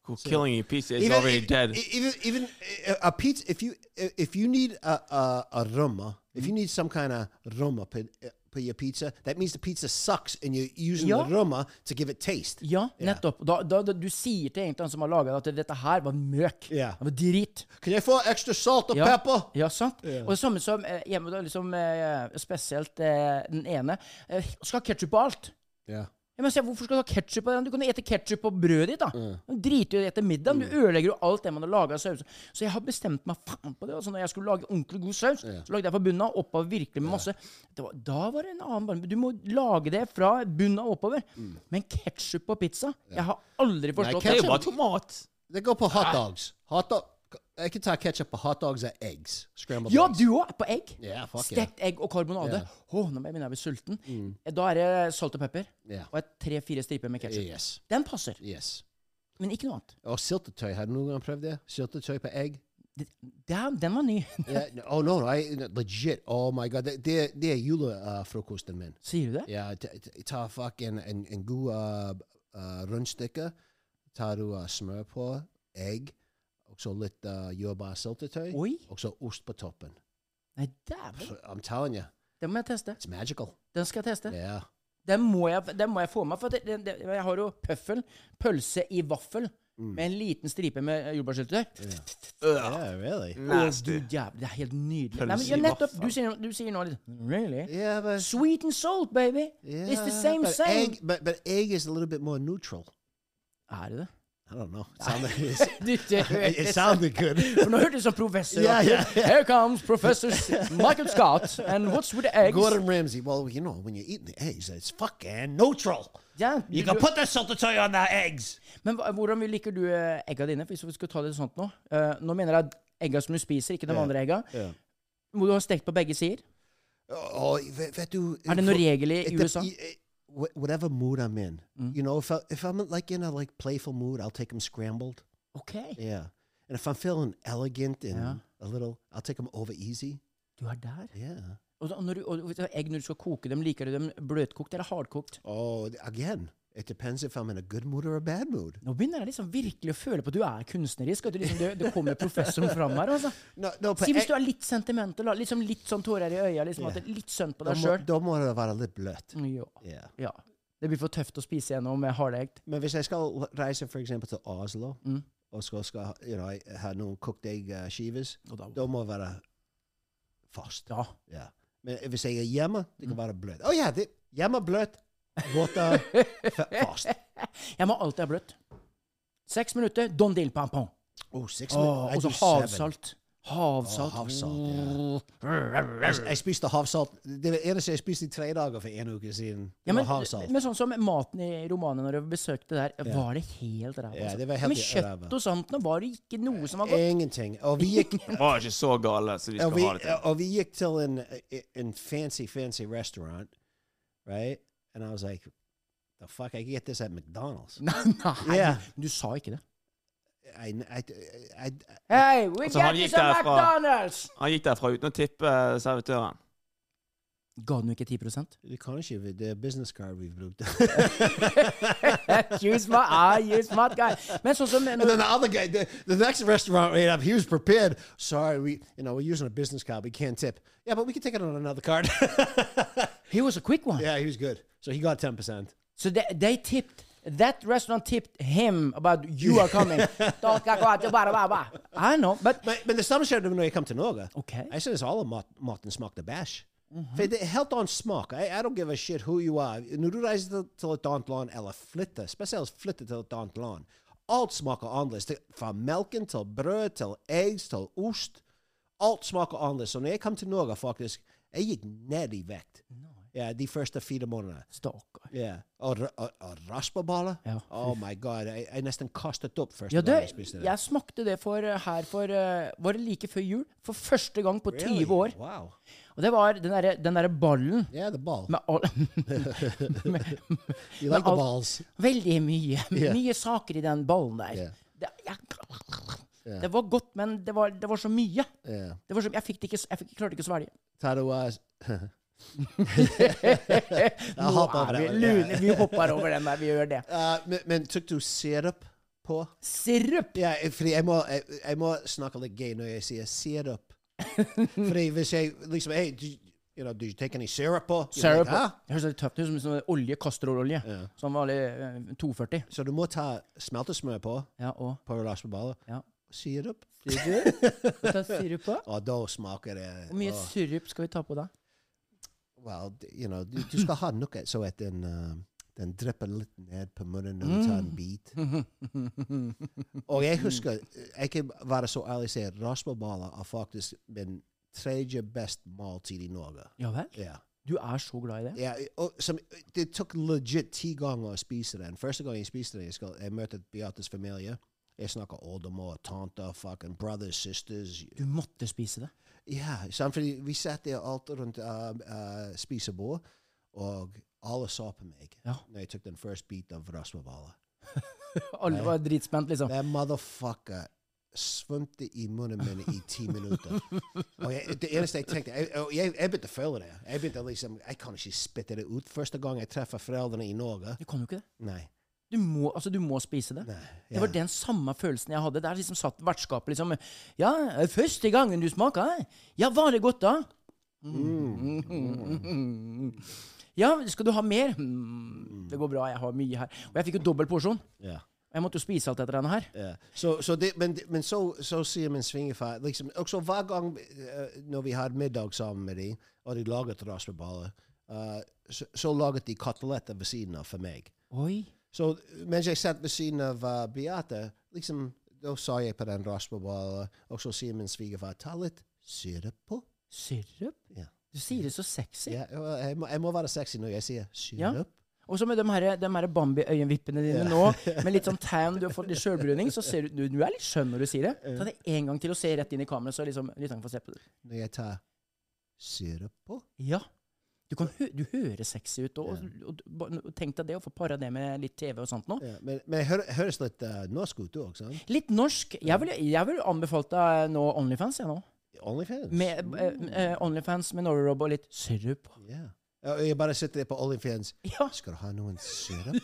Who Killing you pizza is already e- dead. e- Even even uh, a pizza. If you if you need a a, a rumma, if you need some kind of rumma for uh, for your pizza, that means the pizza sucks, and you're using Yeah. the rumma to give it taste. Ja, nettopp. Da, da, da, du sier til egentlig han som har laga det, at dette her var møk. Ja. Det var drit. Can you få extra salt and Ja. pepper? Ja, sant? Og det samme som eh, hjemme, da, liksom, eh, spesielt eh, den ene. Eh, skal ha ketsjup på alt. Yeah. Ja, men se, hvorfor skal du ha ketsjup på den? Du kan jo ete ketsjup på brødet ditt, da. Mm. Du driter jo i å ete middag. men Du ødelegger jo alt det man har laga av saus. Så jeg har bestemt meg faen på det. Altså, når jeg skulle lage ordentlig god saus, så lagde jeg fra bunnen av, oppover virkelig med masse. Det var, da var det en annen varme. Du må lage det fra bunnen av oppover. Men ketsjup på pizza? Jeg har aldri forstått Det er jo Mm. ketchup- bare tomat. They go for hot dogs. Hot dog. I can tie ketchup for hot dogs and eggs. Scrambled Ja, eggs. du òg! På egg. Yeah, fuck yeah. Mm. Stekt egg og karbonade. Yeah. Åh, nå begynner jeg å bli sulten. Da er det salt og pepper. Yeah. Og et tre-fire striper med ketsjup. Yes. Den passer, Yes. men ikke noe annet. Oh, syltetøy. Har du noen gang prøvd det? Syltetøy på egg? Det, det er- den var ny. Yeah. (laughs) Oh, no, no. I, legit. Oh, my God. Det, det, det er julefrokosten min. Sier du det? Ja, t- t- ta fucking en, en god uh, uh, rundstykke. Tar du uh, smør på, egg, og så litt uh, jordbærsyltetøy, Oi. og så ost på toppen. Nei, dæven. I'm telling you, Den må jeg teste. it's magical. Den skal jeg teste. Yeah. Den, må jeg, den må jeg få meg. For det, det, det, jeg har jo pøffel, pølse i vaffel, med en liten stripe med eh, jordbærsyltetøy. Yeah, really? Mm. Nasty. Å, du jævla, det er helt nydelig. Pølse Nei, men, ja, i nettopp. vaffel. Du sier, du sier nå litt Really? Yeah, but... Sweet and salt, baby. It's the same, but same. Egg, but, but egg is a little bit more neutral. Er det det? I don't know. It sounded, (laughs) it's- (laughs) Du, det it, hørtes- sounded good. (laughs) For nå hørtes det som professor. Ja, ja, ja. Here comes professor Michael Scott, and what's with the eggs? Gordon Ramsay, well, you know, when you're eating the eggs, it's fucking neutral. Ja, You du- can put that saltatoy on the eggs. Men hva- hvordan liker du eh, egga dine? Hvis vi skal ta det sånt nå. Eh, nå mener jeg egga som du spiser, ikke de andre egga. Må du ha stekt på begge sider? Oh, vet, vet du, Er det noen regel i It dep- USA? i- i- eh, wh- Whatever mood I'm Mm. (laughs) in, you know, if I, if I'm like in a like playful mood, I'll take them scrambled. OK. Yeah. And if I'm feeling elegant and a little, I'll take them over easy. Du er der. Yeah. Og, da- når du, og, og egg når du skal koke dem, liker du dem bløtkokt eller hardkokt? Oh, th- again, it depends if I'm in a good mood or a bad mood. Nå begynner jeg liksom virkelig å føle på at du er kunstnerisk. At du liksom, det, det kommer professoren fram her. altså. No, no, eh, Si hvis du er litt sentimental, da, liksom litt sånn tårer i øya, liksom, at det er litt synd på Da deg Mm. må, sjøl. da må det være litt bløtt. Ja. Yeah. ja. Det blir for tøft å spise gjennom med hardegg. Men hvis jeg skal reise for eksempel til Oslo, Mm. og skal, skal ha- you know, jeg ha noen kokt eggskiver, Og da- da må det være fast. Ja. Ja. Men hvis jeg er hjemme, det Mm. kan være bløtt. Å ja, det, hjemme bløtt, borte (laughs) fa- fast. Jeg må alltid ha bløtt. Seks minutter, don deal pampon. Oh, six Åh, minutes. I og så do seven. havsalt. Havsalt. Mm. Åh, havsalt, Jeg, jeg spiste havsalt. Det var det eneste jeg spiste i tre dager for en uke siden. Det Ja, men, var havsalt. men sånn som maten i romanen når jeg besøkte der, var det helt ræva. Ja, altså. det var helt men kjøtt ræva. Eh, og sånt nå var det ikke noe som var (laughs) godt. Ingenting. Og Oh, vi gikk, (laughs) De var ikke så gale som de og skal vi, ha det til. og vi gikk til en, en fancy, fancy restaurant, right? And I was like, the fuck, I can get this at McDonald's. Nei, nei Ja. men du sa ikke det. I, I, I, I, Hei, we Altså, han got you gikk some derfra. McDonald's! Han gikk derfra uten å tippe eh, servitøren. Ga den jo ikke 10 det kan ikke være det business card vi brukte. Excuse my eye, (laughs) you smart guy. Men (laughs) sånn som (laughs) And then the other guy, the, the next restaurant right up, he was prepared. Sorry, we, you know, we're using a business card. We can't tip. Yeah, but we can take it on another card. (laughs) He was a quick one. yeah, he was good. So he got 10%. So they, they tipped that restaurant tipped him about you are (laughs) coming. Don't go out, blah, blah, blah. I know, but Men, men det samme skjedde når jeg kom til Norge. Okay. Jeg synes alle mat, maten smakte bæsj. Mhm. For det er helt annen smak. I, I don't give a shit who you are. Når du reiser til, til et annet land, eller flytter, spesielt flytter til et annet land, alt smaker annerledes. Det- Fra melken til brød, til eggs, til ost. Alt smaker annerledes. Så når jeg kom til Norge, faktisk, jeg gikk ned i vekt. Ja, de første fire månedene. Stakkar. Ja. Og, ra- og, og raspeballer. Ja, fy. Oh my god, jeg, jeg nesten kastet opp første Ja, gang det, jeg spiste det. jeg smakte det for, eh, her for eh, Var det like før jul? For første gang på 20 år. Wow. Og det var den derre den derre ballen Yeah, the ball. med all (laughs) med- You med like the alt- balls. Veldig mye. (laughs) Yeah. Mye saker i den ballen der. Yeah. Det, jeg, det var godt, men det var, det var så mye. Yeah. Det var så, jeg, fikk det ikke, jeg fikk, klarte ikke å svelge. Title wise. (laughs) Nå hopp over er vi den, ja. lune. Vi hopper over den der. Vi gjør det. Uh, men, men tok du sirup på? Sirup! Ja, eh, fordi jeg må, jeg, jeg må snakke litt gay når jeg sier sirup. fordi hvis jeg liksom Hey, did you, you know, did you take any syrup på? You're Sirup. Like, huh? Det høres litt tøft ut, som sånn olje, kastrololje. Sånn vanlig eh, 240. Så du må ta smeltesmør på Ja, og på raspeballer. Ja. Sirup. (laughs) Ta sirup på. Og da smaker det Hvor mye åh, sirup skal vi ta på da? well, d- you know, du, du skal ha noe så at den, uh, den drypper litt ned på munnen når du tar en bit. Og jeg husker, jeg kan være så ærlig og si at raspeballer er faktisk min tredje best måltid i Norge. Ja vel? Ja. Du er så glad i det? Ja, og som, det tok legit ti ganger å spise den. Første gang jeg spiste den, jeg, skal, jeg møtte Beates familie. Jeg snakker oldemor, tanter, fucking brothers, sisters. Du måtte spise det. Ja, samtidig vi satt der alt rundt uh, uh, spisebord, og alle så på meg Ja. når jeg tok den første biten av raspeballer. Alle var dritspent, liksom. That motherfucker svømte i munnen min i ti minutter. Og jeg, det eneste jeg tenkte Jeg, og jeg, jeg begynte å føle det. Jeg begynte liksom, jeg kan ikke spytte det ut. Første gang jeg treffer foreldrene i Norge Du kan jo ikke det. Nei. Du må, altså, du må spise det. nei Det var den samme følelsen jeg hadde. Der liksom satt vertskapet liksom Ja, første gangen du smaka? Ja, var det godt, da? Mm. Ja, skal du ha mer? Mm. Det går bra, jeg har mye her. Og jeg fikk jo dobbel porsjon. Ja. Og jeg måtte jo spise alt dette denne her. Ja. Så, så det, men, men så, så sier min svigerfar liksom, Også hver gang eh, når vi har middag sammen med dem, og de laget raspeballer, eh, så, så laget de koteletter ved siden av for meg. Oi. Så mens jeg satt ved siden av eh, Beate, liksom, da sa jeg på den raspeballen, og så sier min svigerfar ta litt sirup på. Sirup? Ja. Du sier det så sexy. Ja, og jeg, må, jeg må være sexy når jeg sier Ja. sirup. Og så med de her, de her Bambi-øyenvippene dine (laughs) nå, med litt sånn tan, du har fått litt sjølbruning, så ser du, du Du er litt skjønn når du sier det. Ta det en gang til og se sånn rett inn i kameraet, så liksom lytteren får se på det. Når jeg tar sirup på. Ja. Du, kan hø du høres sexy ut, og, og, og, og tenk deg det, å få para det med litt TV og sånt nå. Ja, men men det hø- høres litt eh, norsk ut, du òg, sant? Litt norsk. Jeg ville jeg vil anbefalt deg nå Onlyfans, jeg nå. Onlyfans? Med, eh, eh, Onlyfans med Norwerob og litt sirup. Ja. Ja, Jeg bare sitter der på Onlyfans. Ja. Skal du ha noen sirup?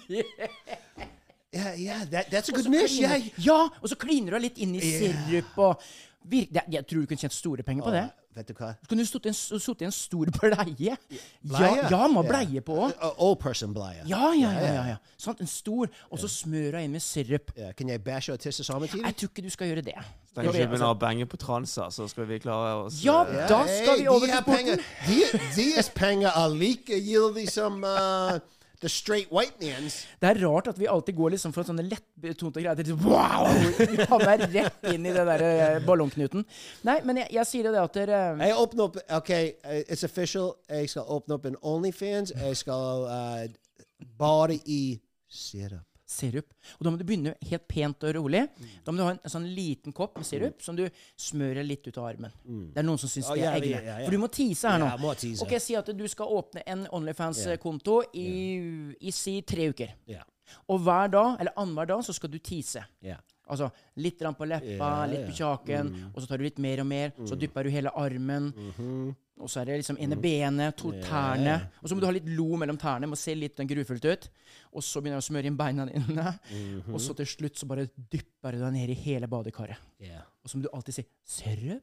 Ja, ja, that, that's a good så niche. kliner- Yeah. Ja, og så kliner du litt inn i sirup og virk, det, Jeg tror du kunne tjent store penger på det. Vet du hva? Så kunne du sittet i en, sittet i en stor bleie. Ja, Bleie? ja må Ja. bleie på òg. Uh, old person bleie. Ja, ja, ja. ja, ja. Sant, en stor, og så smøra inn med sirup. Ja, Kan jeg bæsje og tisse samme tid? Jeg tror ikke du skal gjøre det. Da kan Det- vi begynne å bange på transer, så skal vi klare oss Ja, eh, da skal vi over de til her penger- sporten. de- Deres penger er likegyldig som uh, the straight white man's. Det er rart at vi alltid går liksom fra sånne lettbetonte greier til wow! Vi havner rett inn i den der eh, ballongknuten. Nei, men jeg, jeg sier jo det at dere eh, Jeg åpner opp OK, eh, it's official. Jeg skal åpne opp en Onlyfans. Jeg skal uh, E, bare i sirup. sirup. Og da må du begynne helt pent og rolig. Da må du ha en, sånn liten kopp med sirup som du smører litt ut av armen. Det er noen som syns Å, det Mm. ja, er egne. ja, ja, ja. For du må tease her nå. Ja, må tease. Ok, Si at du skal åpne en Onlyfans-konto i, i si tre uker. Ja. Og hver dag, eller annenhver dag, så skal du tease. Ja. Altså litt grann på leppa, Ja, Mm. litt på kjaken, og så tar du litt mer og mer. Så dypper du hele armen. Mhm. Og så er det liksom ene benet, to tærne. Og så må du ha litt lo mellom tærne. Må se litt sånn grufullt ut. Og så begynner du å smøre inn beina dine. Mhm. Og så til slutt så bare dypper du deg ned i hele badekaret. Ja. Og så må du alltid si 'Serr?'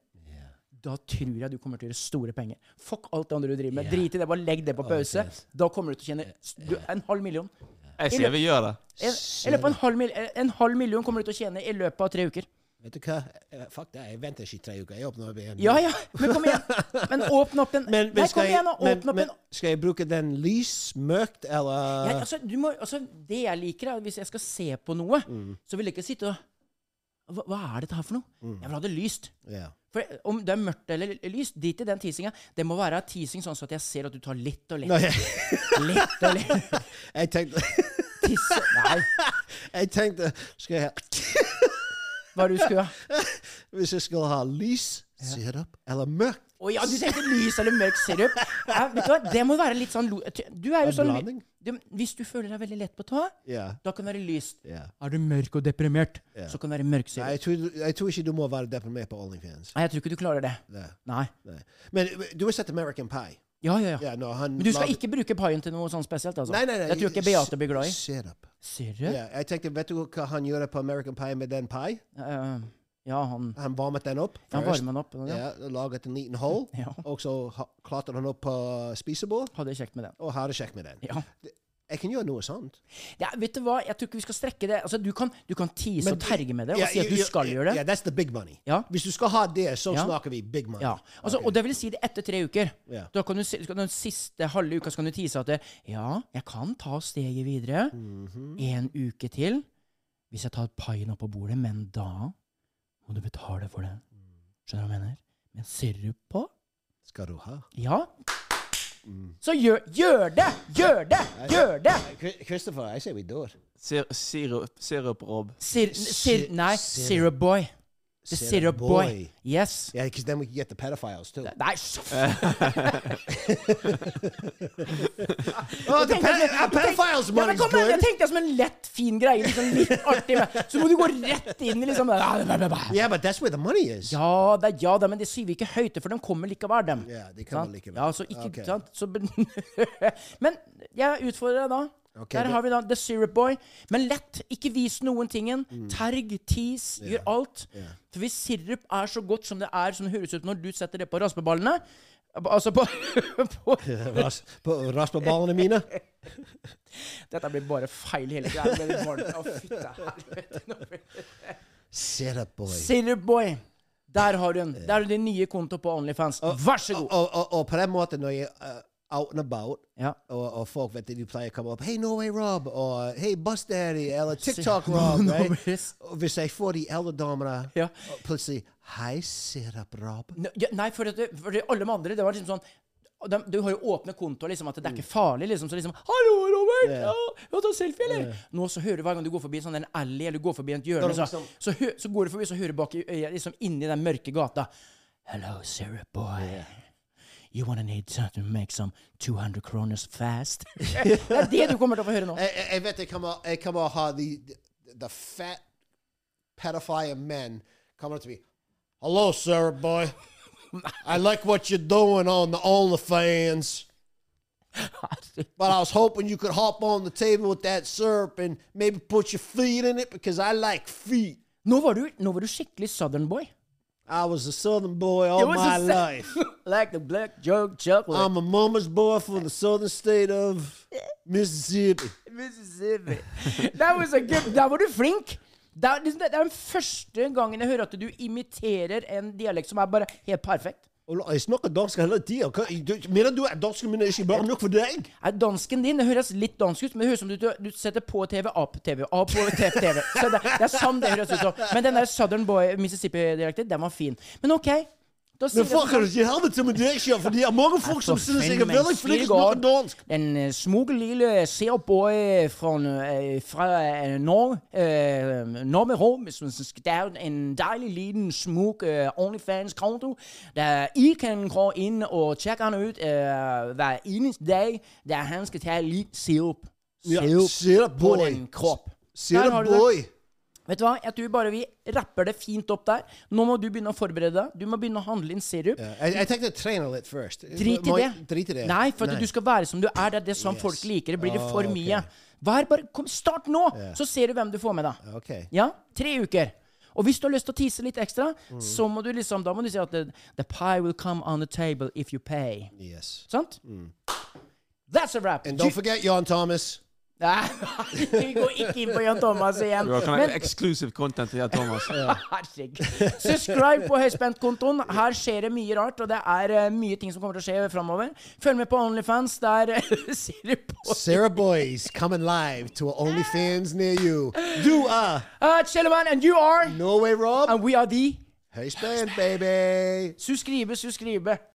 Da tror jeg du kommer til å gjøre store penger. Fuck alt det andre du driver med. Drit i det. Bare legg det på pause. Da kommer du til å tjene s- du, en halv million. Jeg sier vi gjør det. En, i løpet av en, halv mil, en halv million kommer du til å tjene i løpet av tre uker. Vet du hva? Eh, Fuck det, jeg venter ikke i tre uker. Jeg åpner opp igjen. Ja, ja. Men kom igjen. Men åpne opp en Men, Nei, men, kom skal, jeg, igjen, og men, åpne opp men en skal jeg bruke den lys, mørkt, eller Ja, altså, du må, altså, det jeg liker, er at hvis jeg skal se på noe, Mm. så vil jeg ikke sitte og hva, hva er dette her for noe? Mm. Jeg vil ha det lyst. Ja. (laughs) For om det er mørkt eller lyst, drit i den teasinga. Det må være teasing sånn at jeg ser at du tar litt og litt. Nei, jeg, Litt og litt. jeg tenkte (laughs) Tisse Nei, Jeg tenkte skal jeg, (laughs) hva er det du skulle ha? Hvis jeg skal ha lys, sirup eller mørkt Å ja, du tenkte lys eller mørk sirup. Ja, vet du hva, det må være litt sånn lo- Du er jo sånn Blanding. du, Hvis du føler deg veldig lett på tåa, Ja. da kan det være lyst. ja. Er du mørk og deprimert, så kan det være mørk Nei, sirup. jeg, tror, jeg tror ikke du må være deprimert på Onlyfans. Nei, jeg tror ikke du klarer det. Nei. Nei. Nei. Men du har sett American Pie? Ja, ja, ja. Ja, når han Men du skal lagde- ikke bruke paien til noe sånn spesielt, altså? Nei, nei, nei. Jeg tror ikke Beate blir glad i. Sirup. Sirre? Ja, jeg tenkte, Vet du hva han gjorde på American Pie med den pie? Eh, ja, han Han varmet den opp. Han først. varmer den opp, ja. Ja, laget en liten hull, Ja. og så ha- klarte han opp på spisebord. hadde det kjekt med den. og har det kjekt med den. Ja. Jeg kan gjøre noe sånt. ja. Vet du hva, jeg tror ikke vi skal strekke det. Altså, Du kan, du kan tease og terge med det og Ja, si at du ja, skal ja, gjøre Ja, det. that's the big money. Ja. Hvis du skal ha det, så Ja. snakker vi big money. Ja, altså, Og det vil si det etter tre uker. Ja. Da kan du, si- skal- den siste halve uka så kan du tease at det, ja, jeg kan ta steget videre. En uke til. Hvis jeg tar paien opp på bordet, men da må du betale for den. Skjønner du hva jeg mener? Men sirup på? Skal du ha? Ja. Så gjør, gjør det! Gjør det! Gjør det! Christopher, jeg sier vi dør. Sir- Sirup, sirup, Rob. Sir, sir, nei, Syrup. Syrup Boy. The Syrup Syrup Boy. Boy. Yes. Yeah, because then we can get the pedophiles too. Nei, så f- oh, Jeg the tenkte ped at- uh, pedophiles ja, men money's kom igjen, good. Jeg tenkte det som en lett, fin greie. Liksom litt artig. Men, så må du gå rett inn i liksom Ja, det- det- det- det. Yeah, but that's where the money is. (laughs) Ja da, ja da, men det sier vi ikke høyt, for de kommer likevel, dem. Ja, de kommer Sant? likevel. Ja, så ikke, Ok. sant? Så, be- (laughs) men jeg utfordrer deg da. Ok, Der det- har vi da The Syrup Boy. Men lett, ikke vis noen tingen. Mm. Terg, tis, gjør alt. For hvis sirup er så godt som det er, som det høres ut når du setter det på raspeballene Altså på, (laughs) på (laughs) Ras- på Raspeballene mine. Dette blir bare feil hele greia. Det blir bare- Å, fytte helvete. nå blir det- Syrup boy. Syrup Boy. Der har du den. Der har du din nye konto på Onlyfans. Vær så god. Og, og, og på den måten, når jeg er out and about, Ja. og, og folk vet at de pleier å komme opp Hei, Norway Rob, og Hei, Bus Daddy, eller TikTok Rob. Nå right? blir det- Og Hvis jeg får de eldre damene Ja. og plutselig Hei, Syrup Rob. Ne- ja, Nei, for, at det, for det, alle de andre, det var liksom sånn de, Du har jo åpne kontoer, liksom, at det er ikke farlig, liksom. Så liksom 'Hallo, Robert! Ja. Ja, jeg tar selfie, eller?' Nå så hører du hver gang du går forbi en sånn en alley, eller går forbi et hjørne, Når du så, liksom- så, hø, så går du forbi, så hører du bak i øya, liksom inni den mørke gata 'Hello, syrup boy. You wanna need something to make some 200 kroners (laughs) fast? det er det du kommer til å få høre nå. Jeg, jeg- jeg vet jeg kommer, jeg kommer å ha de, the, the fat pedophile men coming up to me. Hello, Sarah boy. I like what you're doing on the OnlyFans. Eh. But I was hoping you could hop on the table with that syrup and maybe put your feet in it because I like feet. Nå var du, nå var du skikkelig southern boy. I was a southern boy all my life. Oh like the black joke chocolate. I'm a mama's boy from the southern state of Mississippi. Mississippi. That was a good, der var du flink! Det er, liksom, det er den første gangen jeg hører at du imiterer en dialekt som er bare helt perfekt. Og la- Jeg snakker dansk hele tida. Mener du at dansken min er ikke bra nok for deg? Er dansken din det høres litt dansk ut, men det høres ut som du, du setter på TV, av på TV, av på te- TV. Så det, det er sånn det høres ut som. Men den der Southern Boy Mississippi-dialekten, den var fin. Men OK. Da Men sier jeg sånn fuck, er det ikke helvete med deg, sjef? For det er mange folk Altså, som synes jeg er veldig flink til å snakke dansk. Den eh, smuglille seerboy fra, eh, fra eh, Norge, eh, Norge Rom, som skal en deilig liten smug eh, OnlyFans-konto, der I kan gå inn og sjekke han ut eh, hver eneste dag, der han skal ta litt sirup. Ja, Sirup sirup, på boy. din kropp. Der Ser har du, du det. boy? Vet du hva? Jeg tror bare vi rapper det fint opp der. Nå må du begynne å forberede deg. Du må begynne å handle inn sirup. Ja, Jeg jeg tenkte å trene litt først. Drit i Må det. jeg- Drit i det. Nei, for at du skal være som du er. Det er det som Yes. folk liker. Det blir det Ah, for ok. mye. Vær bare, kom, start nå, Ja. så ser du hvem du får med deg. Ok. Ja, tre uker. Og hvis du har lyst til å tise litt ekstra, Mm. så må du liksom, da må du si at the, the pie will come on the table if you pay. Yes. Mm. Sant? That's a wrap. And Du- don't forget Jan Thomas. (laughs) Nei, (laughs) vi går ikke inn på Jan Thomas igjen. Du har Men- kan- exclusive content til (laughs) Thomas. Herregud. Subscribe på Høyspentkontoen. Her skjer det mye rart, og det er eh, mye ting som kommer til å skje framover. Følg med på Onlyfans. Der eh, (laughs) ser du på Sarah Boys coming live to an OnlyFans near you. You are uh, Kjellemann, and you are Norway Rob. And we are the Hey, Spain, baby. Suskribe, suskribe.